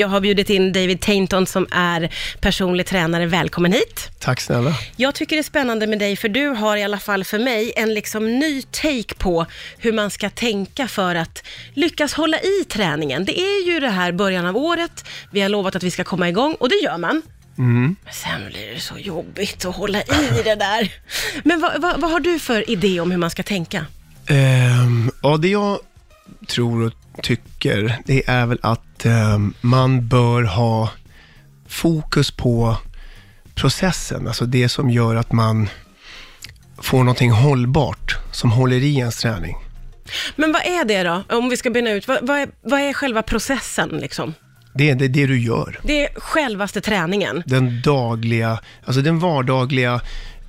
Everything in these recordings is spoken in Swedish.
Jag har bjudit in David Tainton som är personlig tränare. Välkommen hit. Tack snälla. Jag tycker det är spännande med dig, för du har i alla fall för mig en liksom ny take på hur man ska tänka för att lyckas hålla i träningen. Det är ju det här början av året, vi har lovat att vi ska komma igång och det gör man. Men sen blir det så jobbigt att hålla i det där. Men vad, vad, vad har du för idé om hur man ska tänka? Ehm, ja, det jag tror och tycker, det är väl att ehm, man bör ha fokus på processen, alltså det som gör att man får någonting hållbart som håller i ens träning. Men vad är det då? Om vi ska bena ut, vad, vad, är, vad är själva processen liksom? Det är det, det du gör. Det är självaste träningen. Den dagliga, alltså den vardagliga,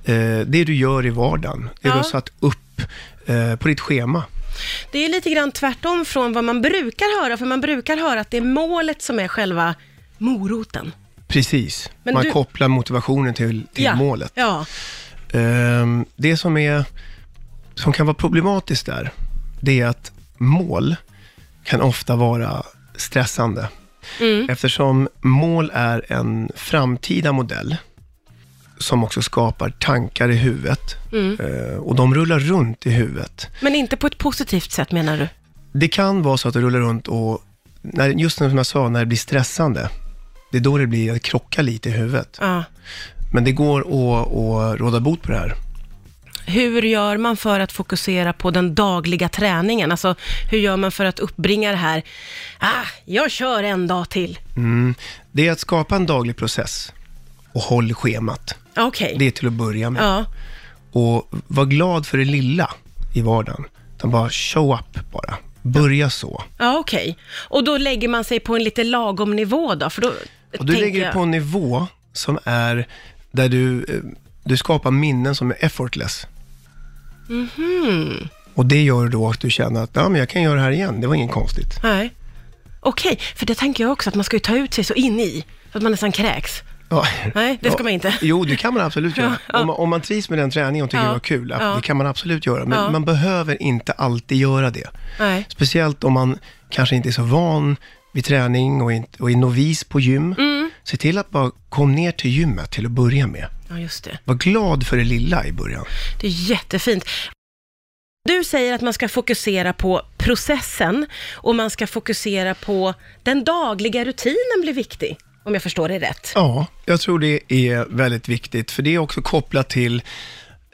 eh, det du gör i vardagen, det Ja. du har satt upp eh, på ditt schema. Det är lite grann tvärtom från vad man brukar höra, för man brukar höra att det är målet som är själva moroten. Precis, Men man du- kopplar motivationen till, till ja. målet. Ja. Ehm, Det som, är, som kan vara problematiskt där, det är att mål kan ofta vara stressande. Eftersom mål är en framtida modell, som också skapar tankar i huvudet. Eh, Och de rullar runt i huvudet. Men inte på ett positivt sätt menar du? Det kan vara så att det rullar runt och, när, just som jag sa, när det blir stressande, det är då det blir att krocka lite i huvudet. Ja. Men det går att, att råda bot på det här. Hur gör man för att fokusera på den dagliga träningen? Alltså, hur gör man för att uppbringa det här, ah, jag kör en dag till. Mm. Det är att skapa en daglig process och håll schemat. Okej. Det är till att börja med. Ja. Och var glad för det lilla i vardagen. Utan bara show up bara. Börja så. Ja, okej. Och då lägger man sig på en lite lagom nivå då? För då Och du tänker lägger dig jag- på en nivå som är där du, eh, du skapar minnen som är effortless. Mhm. Och det gör då att du känner att ja, men jag kan göra det här igen. Det var inget konstigt. Nej. Okej, för det tänker jag också, att man ska ju ta ut sig så in i, att man nästan kräks. Ja. Nej, det ska man inte. Jo, det kan man absolut göra. Om, man, om man trivs med den träningen och tycker Ja. det var kul, Ja. det kan man absolut göra. Men Ja. man behöver inte alltid göra det. Nej. Speciellt om man kanske inte är så van vid träning och, inte, och är novis på gym. Mm. Se till att bara kom ner till gymmet till att börja med. Ja, just det. Var glad för det lilla i början. Det är jättefint. Du säger att man ska fokusera på processen och man ska fokusera på den dagliga rutinen blir viktig, om jag förstår dig rätt. Ja, jag tror det är väldigt viktigt, för det är också kopplat till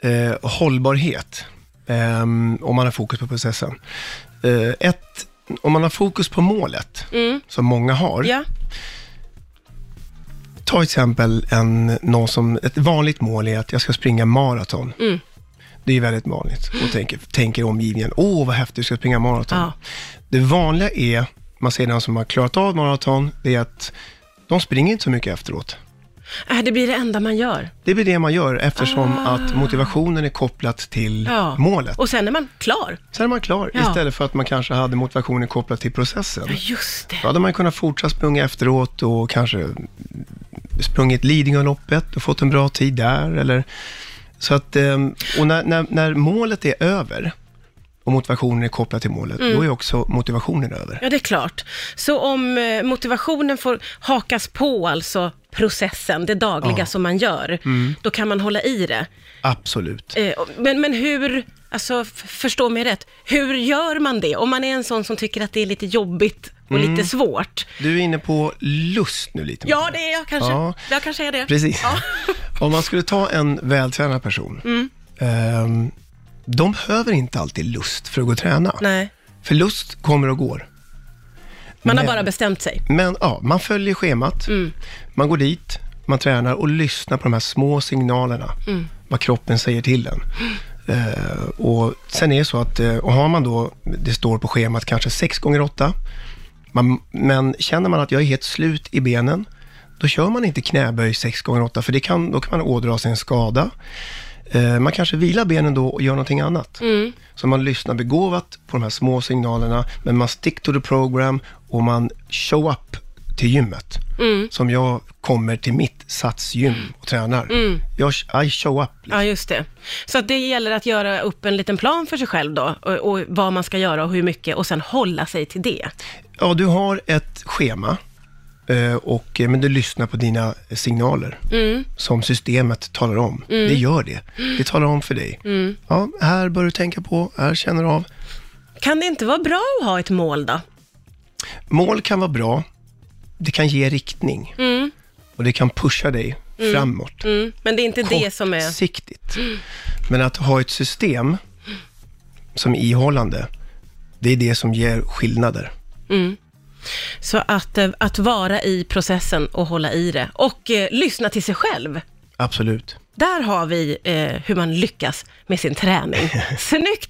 eh, hållbarhet, ehm, om man har fokus på processen. Eh, ett, om man har fokus på målet, som många har, Mm. Ja, Ta till exempel en, någon som, ett vanligt mål är att jag ska springa maraton. Mm. Det är väldigt vanligt. Och tänker, tänker omgivningen, åh vad häftigt, du ska springa maraton. Ja. Det vanliga är, man ser den som har klarat av maraton, det är att de springer inte så mycket efteråt. Äh, det blir det enda man gör. Det blir det man gör eftersom att motivationen är kopplat till Ah. Ja. målet. Och sen är man klar. Sen är man klar, Ja. istället för att man kanske hade motivationen kopplad till processen. Ja, just det. Då hade man kunnat fortsätta springa efteråt och kanske sprungit Lidingöloppet och fått en bra tid där. Eller, så att, eh, och när, när, när målet är över och motivationen är kopplad till målet, Mm. då är också motivationen över. Ja, det är klart. Så om eh, motivationen får hakas på, alltså processen, det dagliga som man gör, då kan man hålla i det. Absolut. Eh, och- Men, men hur, alltså f- förstå mig rätt, hur gör man det? Om man är en sån som tycker att det är lite jobbigt och Mm. lite svårt. Du är inne på lust nu lite. Ja, det är jag kanske. Ja. Jag kanske är det. Precis. Ja. Mm. Om man skulle ta en vältränad person, ehm, de behöver inte alltid lust för att gå och träna. Nej, För lust kommer och går. man Men- har bara Mm. bestämt sig. Men ja, man följer schemat, man går dit, man tränar och lyssnar på de här små signalerna, Mm. vad kroppen säger till en. Eh, och sen är det så att, eh, och har man då, det står på schemat kanske 6 gånger 8 man, men känner man att jag är helt slut i benen, då kör man inte knäböj 6 gånger 8 för det kan, då kan man ådra sig en skada. Eh, man kanske vilar benen då och gör någonting annat. Så man lyssnar begåvat på de här små signalerna, men man stick to the program och man show up till gymmet. Som jag kommer till mitt satsgym och tränar. Jag, I show up. liksom. Ja, just det. Så att det gäller att göra upp en liten plan för sig själv då, och, och vad man ska göra och hur mycket, och sen hålla sig till det. Ja, du har ett schema Eh, Och, eh, men du lyssnar på dina signaler Mm. som systemet talar om. Det gör det. Det talar om för dig. Mm. Ja, här bör du tänka på, här känner du av. Kan det inte vara bra att ha ett mål då? Mål kan vara bra. Det kan ge riktning. Och det kan pusha dig framåt. Mm. Men det är inte det som är... Kortsiktigt. Men att ha ett system som är ihållande, det är det som ger skillnader. Så att, eh, att vara i processen och hålla i det. Och eh, lyssna till sig själv. Absolut. Där har vi eh, hur man lyckas med sin träning. Snyggt